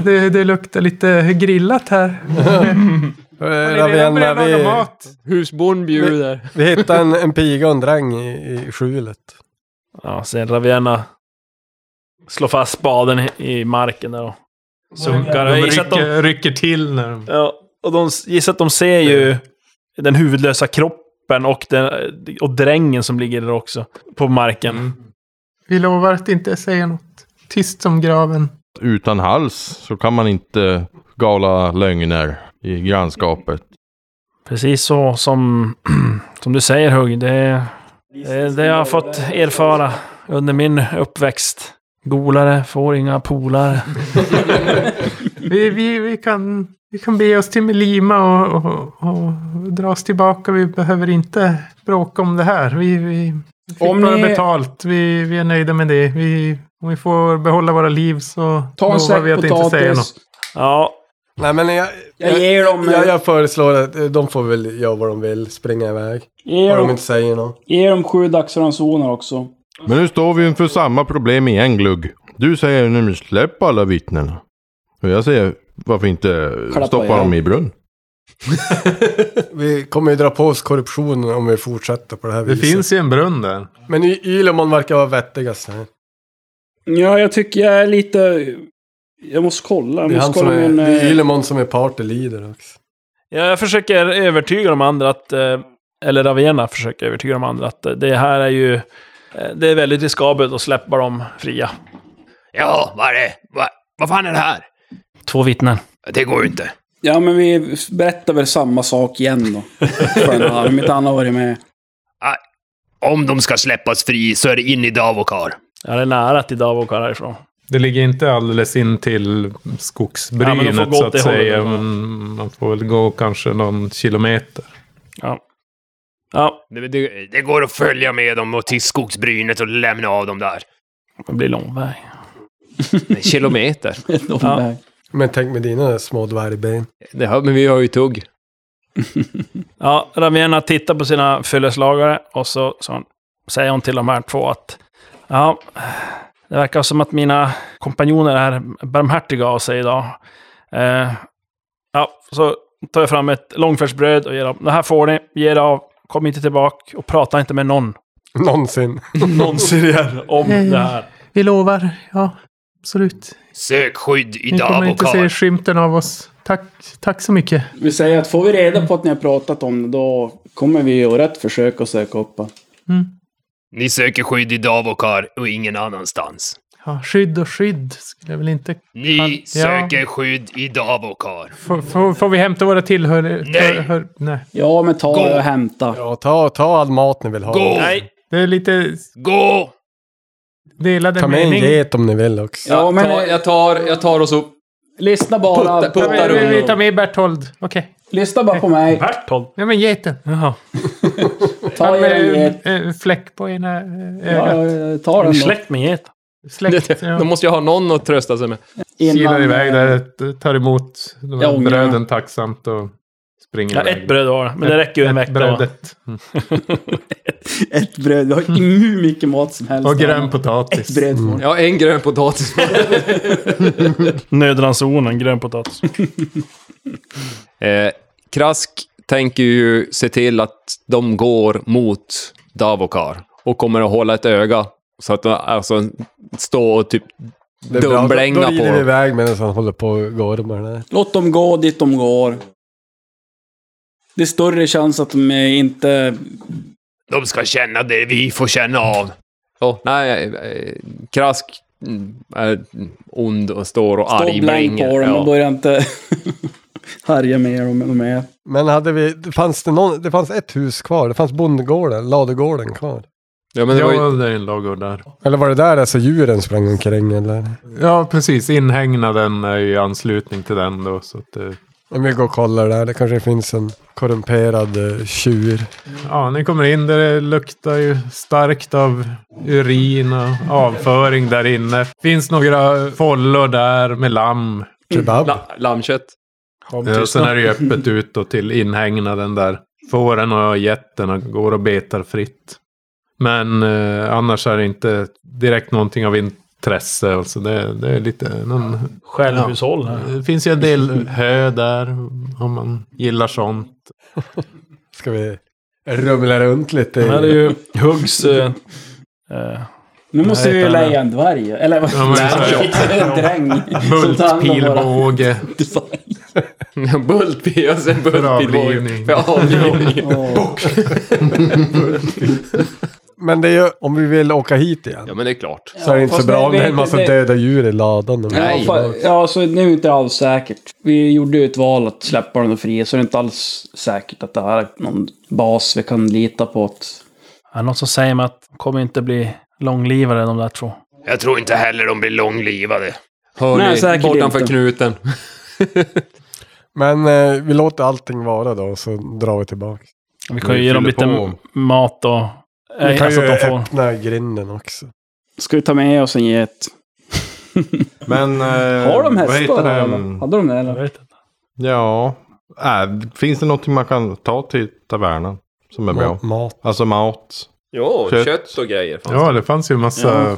Det, det luktar lite grillat här. Eh, Har ni redan Ravienna, börjat laga vi, mat? Husbond bjuder. vi hittade en, en piga och en dräng i, i skjulet. Ja, sen Ravienna slår fast spaden i- i marken där och sunkar. De Jag gissar att de, rycker, rycker till när de... ja, och de gissar att de ser ju den huvudlösa kroppen och, den, och drängen som ligger där också. På marken. Vi lovar att inte säga något. Tyst som graven. Utan hals så kan man inte gala lögner i grannskapet. Precis så som, som du säger Hugg. Det, det, det har jag fått erfara under min uppväxt. Golare får inga polare. Vi, vi, vi, kan, vi kan bege oss till Melima och, och, och dra oss tillbaka. Vi behöver inte bråka om det här. Vi, vi fick Om bara ni- betalt. Vi, vi är nöjda med det. Vi, om vi får behålla våra liv så Ta en lovar vi säck att inte säga något. potatis. Ja, Nej men jag, Jag ger dem, jag, jag föreslår att eh, de får väl göra vad de vill, springa iväg. Ge Om de dem, inte säger något. ge dem sju dagsransoner också. Men nu står vi inför samma problem igen Glugg. Du säger nu släpp alla vittnena. Och jag säger varför inte Klappa stoppa igen. dem i brunn? Vi kommer ju dra på oss korruptionen om vi fortsätter på det här Det viset. finns ju en brunn där. Men Y- Ylemon verkar vara vettigast här. Ja, jag tycker jag är lite... Jag måste kolla. Jag Det är, han måste som kolla är, min... det är eh, Ylemon som är party leader också. jag försöker övertyga de andra att... eh, Eller Ravienna försöker övertyga de andra att eh, det här är ju... eh, Det är väldigt riskabelt att släppa dem fria. Ja, vad är det? Vad, vad fan är det här? Två vittnen. Det går ju inte. Ja, men vi berättar väl samma sak igen då. För en arm, inte han har varit med. Ah, Om de ska släppas fri så är det in i Davokar. Ja, det är nära till Davokar härifrån. Det ligger inte alldeles in till Ja, men skogsbrynet de får gå så åt det att säga. hållet. Men man får väl gå kanske någon kilometer. Ja. Det, det, det går att följa med dem och till skogsbrynet och lämna av dem där. Det blir lång väg. Kilometer. Ja. Men tänk med dina små dvärgben. Det hör, men vi har ju tugg. Ja, Ravena tittar på sina fylleslagare och så, så säger hon till de här två att ja, det verkar som att mina kompanjoner är barmhärtiga av sig idag. Eh, ja, så tar jag fram ett långfärdsbröd och ger dem. Det här får ni, ge er av, kom inte tillbaka och prata inte med någon. Någonsin. Någonsin igen om det här. Vi lovar, ja. Absolut. Sök skydd i Ni kommer inte se Davokar. skymten av oss. Tack, tack så mycket. Vi säger att får vi reda på att ni har pratat om det, då kommer vi göra ett försök att söka upp honom. Ni söker skydd i Davokar och ingen annanstans. Ja, skydd och skydd skulle jag väl inte... Ni Ja. söker skydd i Davokar. Får, får, får vi hämta våra tillhör... Nej. hör- nej. Ja, men ta Gå. och hämta. Ja, ta, ta all mat ni vill ha. Gå! Det är lite Gå! delade Ta med en mening. get om ni vill också. Ja, men eh, Ta, jag, tar, jag tar och så... lyssna bara. Putta- på- putta Vi- Vi, vi tar med Berthold. Okej. Lyssna bara på mig. Berthold. Nej men geten. Jaha. Ta Han er en med get. en, en fläck på ena eh, Ja, ögat. ja, ta Är den ni då. släkt med get? Släkt. Ja. De måste ju ha någon att trösta sig med. Kilar Innan- eh, iväg där, tar emot de Jag här ångrar. bröden tacksamt och springer Ja, iväg. ett bröd var det, men det räcker ju en Ett vecka. va? Brödet. Ett bröd. Vi har hur mycket mat som helst. Och grön Ett potatis. Mm. bröd får ni. Ja, en grön potatis. Nödransonen, grön potatis. eh, Krask tänker ju se till att de går mot Davokar och kommer att hålla ett öga. Så att de alltså, stå och typ Det är bra. Då- dumblänga Då på rider vi dem. iväg medan han håller på och går med den här. Låt dem gå dit de går. Det är större chans att de inte... De ska känna det vi får känna av. Ja, nej, eh, Krask mm, är ond och står och Stå arg blank på blänger. dem och Ja. börja inte härja med dem. De är. Men hade vi, det fanns det någon, det fanns ett hus kvar. Det fanns bondgården, ladugården kvar. Ja, men det var ju, Ja, det är en lagård där. Eller var det där alltså djuren sprang omkring eller? Ja, precis. Inhägnaden är ju i anslutning till den då. Så att, eh, Om vi går och kollar där, det kanske finns en korrumperad eh, tjur. ja, ni kommer in där det luktar ju starkt av urin och avföring där inne. Finns några follor där med lamm. Kebab. la, lammkött. Eh, Och sen är det ju öppet ut då till inhägnaden där fåren och getterna går och betar fritt. Men eh, annars är det inte direkt någonting av intresse. Alltså det, det är lite någon... Självhushåll. här. Det finns ju en del hö där om man gillar sånt. Ska vi rumla runt lite? Den här är i- ju Huggs... Eh, eh, Nu måste Nej, vi ju fan. leja en dvärg. Eller vad? Ja, men det är så en dräng. som tar hand om våra Bultpilbåge. dvärg. Bultbil, alltså en avlivning. bultbil. För avlivning. Åh. Men det är ju, om vi vill åka hit igen. Ja, men det är klart. Så är det inte så Fast bra det- om det är en det- massa det- döda djur i ladan. och- Ja, fa- ja, så nu är det inte alls säkert. Vi gjorde ju ett val att släppa den fria, så det är inte alls säkert att det här är någon bas vi kan lita på. Att... är det någon som säger mig att de kommer inte bli långlivade de där två? Jag tror inte heller de blir långlivade. Hör Nej, ni, säkert bortanför inte. knuten. Men eh, vi låter allting vara då, så drar vi tillbaka. Vi kan ju ge dem lite på. mat och... Vi Eh, kan alltså ju att de får... öppna grinden också. Ska vi ta med oss en get? Men... eh, Har de vad hästar? heter det? eller? Hade de det Jag eller? vet inte. Ja. Äh, finns det någonting man kan ta till tavernan? Som är bra? Ma- mat. Alltså mat. Jo, Kött. och grejer. fanns Alltså. Ja, det fanns ju en massa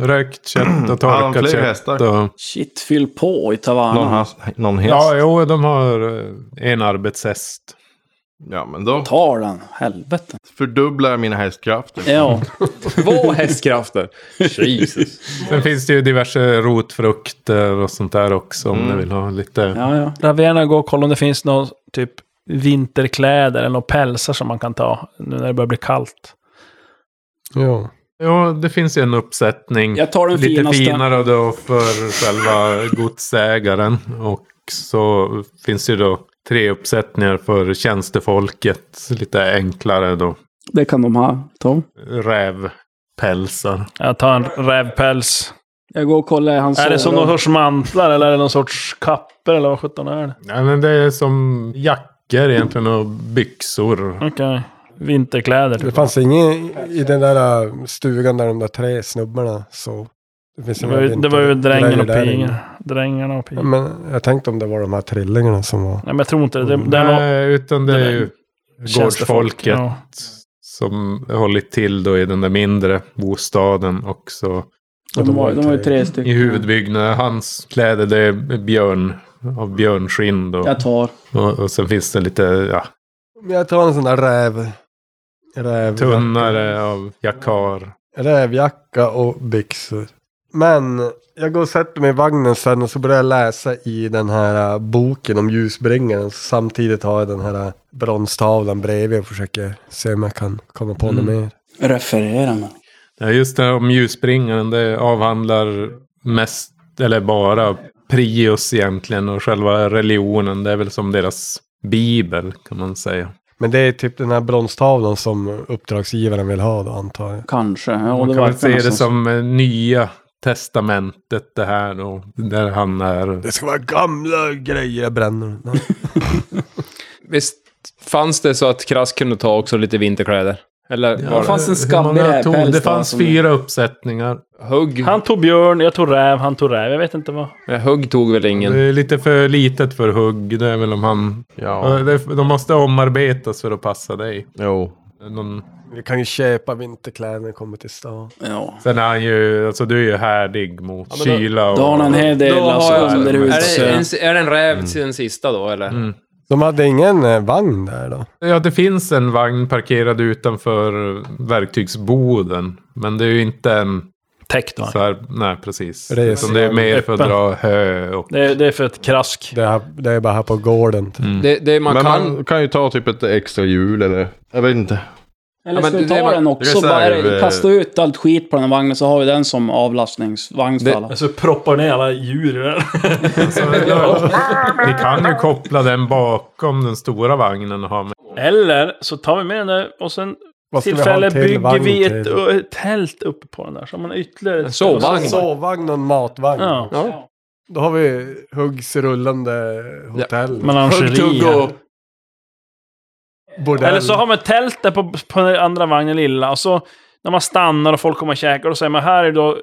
rökt kött och Har de torkat fler kött. hästar? Och... Shit, fyll på i Någon, tavernan. has, någon häst? Ja, Ja, jo, de har eh, en arbetshäst. men då Ta den, helvete. fördubblar jag mina hästkrafter. Ja, det. Två hästkrafter. Jesus. Sen finns det ju diverse rotfrukter och sånt där också om Mm. ni vill ha lite. ja, ja. Ravena går och kollar om det finns någon typ vinterkläder eller några pälsar som man kan ta nu när det börjar bli kallt. Ja. Ja, det finns ju en uppsättning. Jag tar den lite finaste. finare då för själva godsägaren. Och så finns ju då tre uppsättningar för tjänstefolket. Lite enklare då. Det kan de ha, Tom. Rävpälsar. Jag tar en rävpäls. Jag går och kollar i hans Är det som öron. någon sorts mantlar eller är det någon sorts kapper eller vad sjutton är det? Nej, men det är som jackor egentligen och byxor. Okej. Vinterkläder. Det fanns ingen i den där äh, stugan där de där tre snubbarna så. Det, finns Det inga var ju, det var ju vintergrejer drängen och där pigen. inne. Drängarna och Ja, pigen. men jag tänkte om det var de här trillingarna som var. Nej, men jag tror inte det. det, det är nog- Nej, utan det är ju tjänstefolk, gårdsfolket. ja. Som hållit till då i den där mindre bostaden också. Ja, de var- de var ju tre stycken. I huvudbyggnaden. Hans kläder det är björn. Av björnskinn då. Jag tar. Och, och sen finns det lite ja, Men jag tar en sån där räv... räv tunnare av jakar. Rävjacka och byxor. Men jag går och sätter mig i vagnen sen och så börjar jag läsa i den här äh, boken om ljusbringaren. Så samtidigt har jag den här äh, bronstavlan bredvid och försöker se om jag kan komma på något Mm. mer. Referera mig. Ja, just det här om ljusbringaren. Det avhandlar mest, eller bara, Prius egentligen. Och själva religionen. Det är väl som deras bibel kan man säga. Men det är typ den här bronstavlan som uppdragsgivaren vill ha då antar jag. Kanske. Man kan väl se det som eh, nya testamentet det här då. Där han är. Det ska vara gamla grejer jag bränner. Nej. Visst fanns det så att Krass kunde ta också lite vinterkläder? Eller Ja, var det fanns en skabbig Hur många tog- rävpäls det då fanns som- fyra uppsättningar. Hugg. Han tog björn, jag tog räv, han tog räv. Jag vet inte vad. Ja, hugg tog väl Det ingen? är lite för litet för hugg. Det är väl om han... Ja. det- De måste omarbetas för att passa dig. Jo. Någon... Vi kan ju köpa vinterkläder när vi kommer till stan. Ja. Sen är han ju... Alltså du är ju härdig mot men då- kyla och... Då har han en hel del Då har alltså, jag- underhus. Är det, en, är det en räv Mm. till den sista då, eller? De hade ingen eh, vagn där då? Ja, det finns en vagn parkerad utanför verktygsboden. Men det är ju inte en... Täckt så här, Nej, precis. Resvagn. Utan det är mer för att Öppen. dra hö och... Det är, det är för ett krask. Det, här, det är bara här på gården. Typ. Mm. Det, det man Men kan... man kan ju ta typ ett extra hjul eller... Jag vet inte. Eller Ja, ska men vi det ta var- den också? reserv- Bara kasta ut allt skit på den här vagnen så har vi den som avlastningsvagn för Det- alla. Alltså proppar ner alla djur i den. Ni kan ju koppla den bakom den stora vagnen och ha med. Eller så tar vi med den där och sen Vad ska vi ha tillfälle till bygger vagn vi ett till? ö, tält uppe på den där. Så har man ytterligare... En sovvagn. Sovvagn och en matvagn. Ja. Då har vi Huggs rullande hotell. Menagerie. eh, Bordell. Eller så har man tält där på, på den andra vagnen lilla. Och så när man stannar och folk kommer och käkar. Och säger man här är då eh,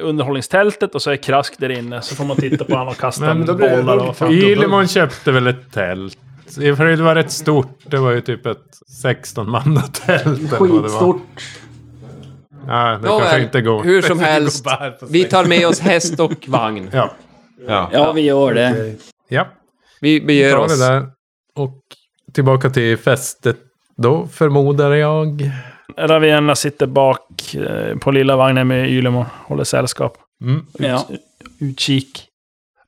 underhållningstältet och så är krask där inne. Så får man titta på honom och kasta Men då blir det bollar. Och fan. Ylemon köpte väl ett tält. För det var rätt stort. Det var ju typ ett 16 manna tält. eller vad det var. Skitstort. Nej, det kanske Nåväl, inte går. hur som helst. Vi tar med oss häst och vagn. Ja. Ja, vi gör det. ja. Vi Vi beger tar oss. det där. Och tillbaka till fästet då, förmodar jag. Ravienna sitter bak eh, på lilla vagnen med Ylemon. Håller sällskap. Mm. Ja. Utkik.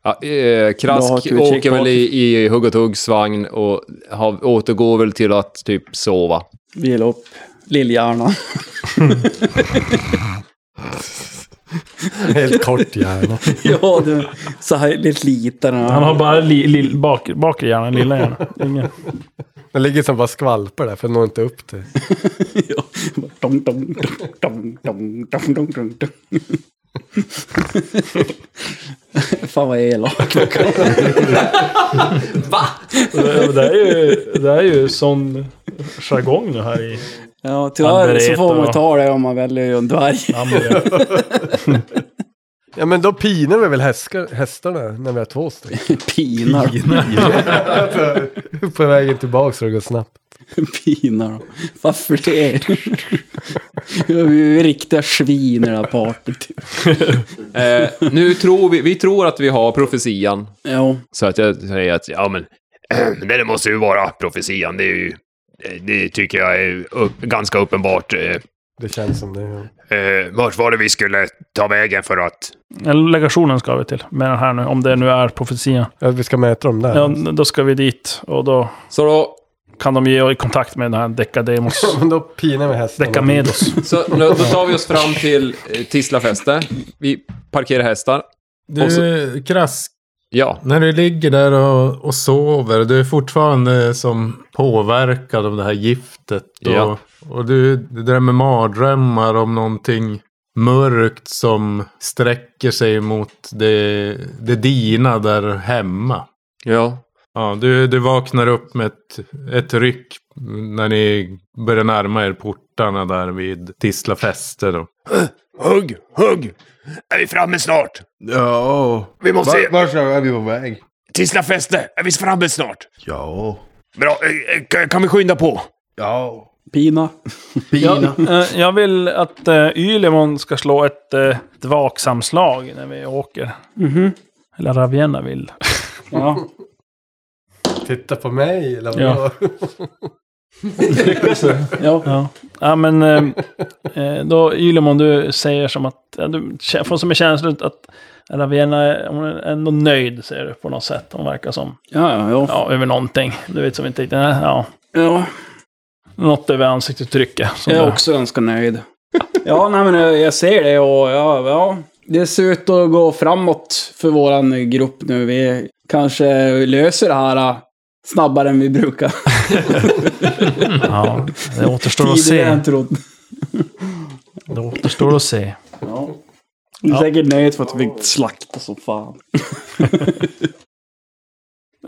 Ja, eh, Jag har Krask ett utkik åker väl bak. i, i Hugg och Tuggs vagn och har, återgår väl till att typ sova. Vila upp lillhjärnan. Helt kort gärna. ja, du. Så här lite liten. Han har bara li, li, bak, bakre hjärnan, lilla hjärnan. Ingen. Den ligger som bara skvalpar där för den når inte upp till. Ja. Dong, dong, dong, dong, dong, dong, dong, dong. Fan vad elak. Det, det, är ju, det är ju sån jargong nu här i... Ja, tyvärr så får man ta det om man väljer en dvärg. Ja men då pinar vi väl häskar, hästarna när vi har två stycken. Pinar. på vägen tillbaka så det går snabbt. Pinar dem. Varför det? Ja, Vi är ju riktiga svin i det här partyt. Eh, nu tror vi, vi tror att vi har profetian. Ja, Så att jag säger att, ja men, Det måste ju vara profetian. Det, är ju, det tycker jag är upp, ganska uppenbart. Eh, Det känns som det. Ja. Eh, vart var det vi skulle ta vägen för att... Eller legationen ska vi till med den här nu, om det nu är profetian. Ja, vi ska mäta dem där. Ja, då ska vi dit och då så då, kan de ge i kontakt med den här Decademos. Men då pinar vi hästarna. Decamedos. så, nu, då tar vi oss fram till eh, Tislafäste. Vi parkerar hästar. Och Du, Krask Ja. När du ligger där och, och sover, du är fortfarande som påverkad av det här giftet. Och, Ja. och du, du drömmer mardrömmar om någonting mörkt som sträcker sig mot det, det dina där hemma. Ja. Ja, du, du vaknar upp med ett, ett ryck när ni börjar närma er portarna där vid Tisla fäste. Då. Hugg, hugg! Är vi framme snart? Ja. Vi måste Var- se. Vart är vi på väg? Tisla fäste, är vi framme snart? Ja. Bra, eh, eh, kan- kan vi skynda på? Ja. Pina. Pina. Jag, eh, jag vill att eh, Ylemon ska slå ett, eh, ett vaksamslag när vi åker. Mhm. Eller Ravienna vill. Ja. Titta på mig eller vad? Ja. Lyckas det? Ja. Ja, ja men eh, eh, då Ylemon, du säger som att, ja, du kä- får som en känsla ut att Ravienna, är- hon är ändå nöjd ser du på något sätt. Hon verkar som, Ja, ja, ja. ja, över någonting. Du vet som inte riktigt, nej, ja. ja. Något över ansiktsuttrycket. som Jag är du- också ganska nöjd. Ja, nej men jag, jag ser det och ja, ja. Det ser ut att gå framåt för våran grupp nu. Vi kanske löser det här eh, snabbare än vi brukar. Ja, det återstår att Tidigare se. än trott. Det återstår att se. Ja. Du är säkert nöjd för att vi fick slakta som fan.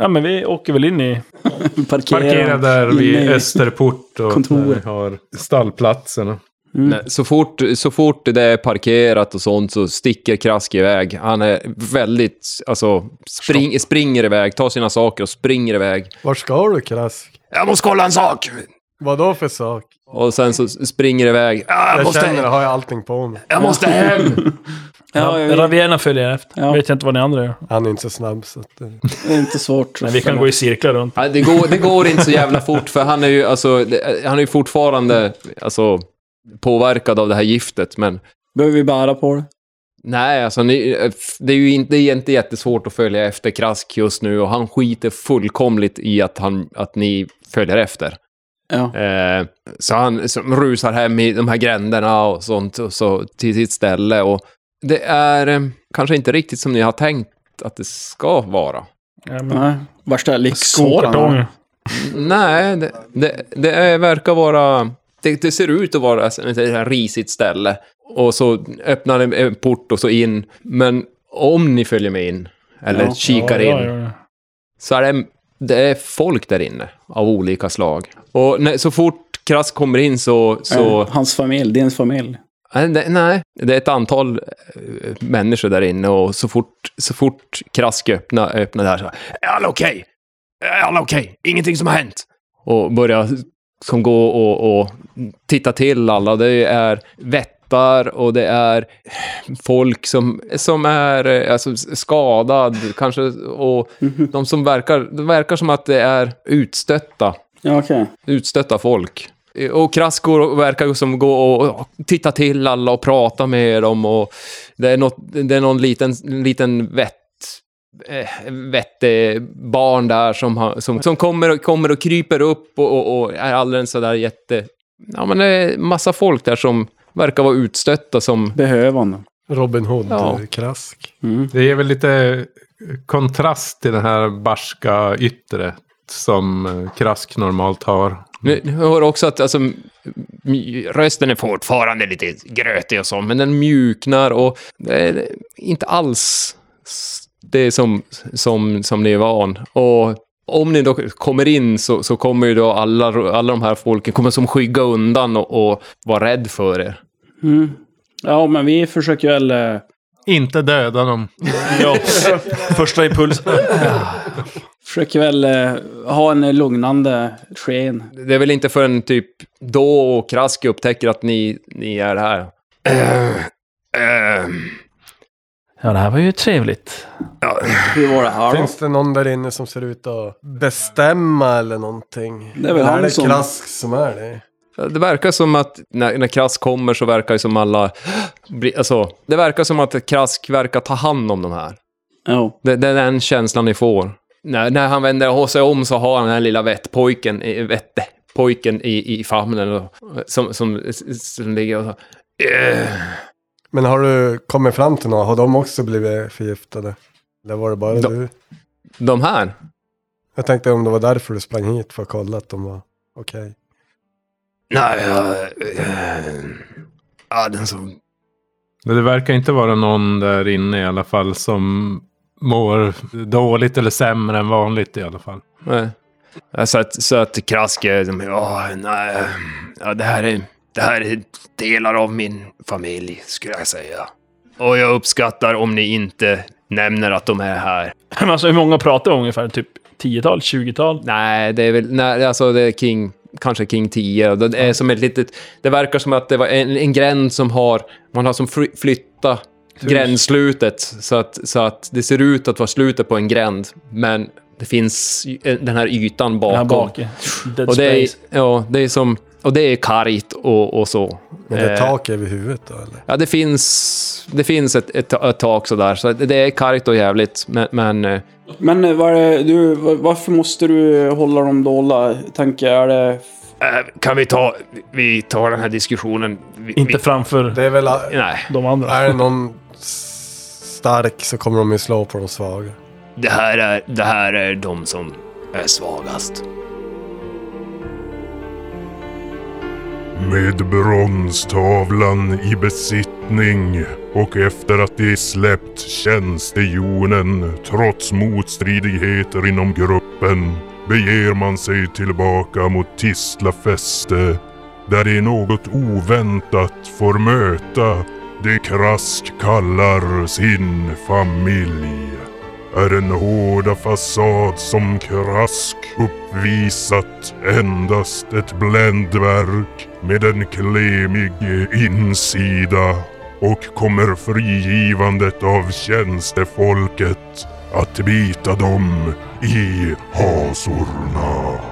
Ja, men vi åker väl in i... Parkera, Parkera där inne i- vid Österport och kontoret. där vi har stallplatserna. Nej, Eh, Så, fort, så fort det är parkerat och sånt så sticker Krask iväg. Han är väldigt, alltså, spring, springer iväg, tar sina saker och springer iväg. Vart ska du Krask? Jag måste kolla en sak! Vad då för sak? Och sen så springer iväg. Ah, Jag jag, måste, känner det, har jag allting på mig. jag måste hem! Ja, jag vet. Ravienna följer efter. Ja. Vet jag inte vad ni andra gör. Han är inte så snabb så att... eh, Det är inte svårt. Men vi kan gå i cirklar runt. Nej, det, går, det går inte så jävla fort för han är ju, alltså, det- han är ju fortfarande alltså, påverkad av det här giftet. Men Behöver vi bära på det? nej, alltså, ni, det är ju inte, det är inte jättesvårt att följa efter Krask just nu och han skiter fullkomligt i att, han, att ni följer efter. Ja. Eh, så han så rusar hem i de här gränderna och sånt och så till sitt ställe. Och det är eh, kanske inte riktigt som ni har tänkt att det ska vara. Ja, men... Nej. Värsta lyxsåren. Skokartongen. Nej, det, det, det är, verkar vara... Det, det ser ut att vara ett här risigt ställe. Och så öppnar en- en port och så in. Men om ni följer med in, eller Ja. kikar in, Ja, ja, ja. så är det, det är folk där inne av olika slag. Och när, så fort Krask kommer in så... så Hans familj, din familj. Nej, det, nej, det är ett antal eh, människor där inne och så fort, så fort Krask öppnar, öppnar där så här, Är alla okej? Är alla okej? Ingenting som har hänt? och börjar som gå och, och titta till alla. Det är vättar och det är folk som, som är eh, alltså, skadad kanske och de som verkar, det verkar som att det är utstötta, Ja, okej. utstötta folk. Eh, Och Krask går och verkar ju som gå och och titta till alla och prata med dem och det är, något, det är någon liten, liten vett eh, vettebarn där som, har, som, som kommer, och, kommer och kryper upp och, och, och är alldeles sådär jätte... Ja, men det är massa folk där som verkar vara utstötta som... Behövande. Robin Hood, Ja. eh, Krask. Det ger väl lite eh, kontrast till den här barska yttre som eh, Krask normalt har. Nu, nu hör också att alltså, m- rösten är fort. Fortfarande lite grötig och så. Men den mjuknar och det är inte alls s- det som, som, som ni är van. Och om ni då kommer in så, så kommer ju då alla, alla de här folken kommer som skygga undan och, och vara rädd för er. Mm. Ja, men vi försöker väl... eh, Inte döda dem. Ja. Första impuls. Försöker väl eh, ha en lugnande sken. Det är väl inte förrän typ då och Krask upptäcker att ni, ni är här. Ehm, Ja, det här var ju trevligt. Hur var det här då? Finns det någon där inne som ser ut att bestämma eller någonting? Det är väl Eller han det som- Krask som är det? Det verkar som att när, när Krask kommer så verkar det som alla... bli- Alltså, det verkar som att Krask verkar ta hand om de här. Ja. Det, det är den känslan ni får. När, när han vänder sig om så har han den här lilla vettpojken, i- vettepojken i, i famnen och, som, som, som ligger och så... Men har du kommit fram till något? Har de också blivit förgiftade? Eller var det bara De- du? De här? Jag tänkte om det var därför du sprang hit för att kolla att de var okej. Nej, jag... eh, Ja, den som... Men Det verkar inte vara någon där inne i alla fall som mår dåligt eller sämre än vanligt i alla fall. Nej. Eh, Ja, Så att, så att Krask är... som, Ja, nej. Ja, det här är... Det här är delar av min familj, skulle jag säga. Och jag uppskattar om ni inte nämner att de är här. Men alltså hur många pratar vi om ungefär? Typ 10-tal? 20-tal? Nej, det är väl, nej, alltså det är King, kanske King 10. Det är som ett litet, det verkar som att det var en, en gräns som har, man har som fly, flytta gränsslutet så att, så att det ser ut att vara slutet på en gränd, men det finns ju- eh, den här ytan bakom. Här bak. ja. Dead och det är, space. ja, det är som, och det är kargt och, och så. Men det är Eh, tak över huvudet då eller? Ja, det finns, det finns ett, ett, ett tak sådär, så det är kargt och jävligt, men, men eh, Men eh, vad är det, du, va- varför måste du hålla dem dolda? Tänker jag, är det... Eh, Kan vi ta... Vi tar den här diskussionen... Vi, Inte vi, framför Det är väl... eh, Nej. de andra. Är det någon s- stark så kommer de ju slå på de svaga. Det här är, det här är de som är svagast. Med bronstavlan i besittning och efter att de släppt tjänstehjonen trots motstridigheter inom gruppen beger man sig tillbaka mot Tisla fäste där de något oväntat får möta det Krask kallar sin familj är den hårda fasad som Krask uppvisat endast ett bländverk med en klemig insida och kommer frigivandet av tjänstefolket att bita dem i hasorna.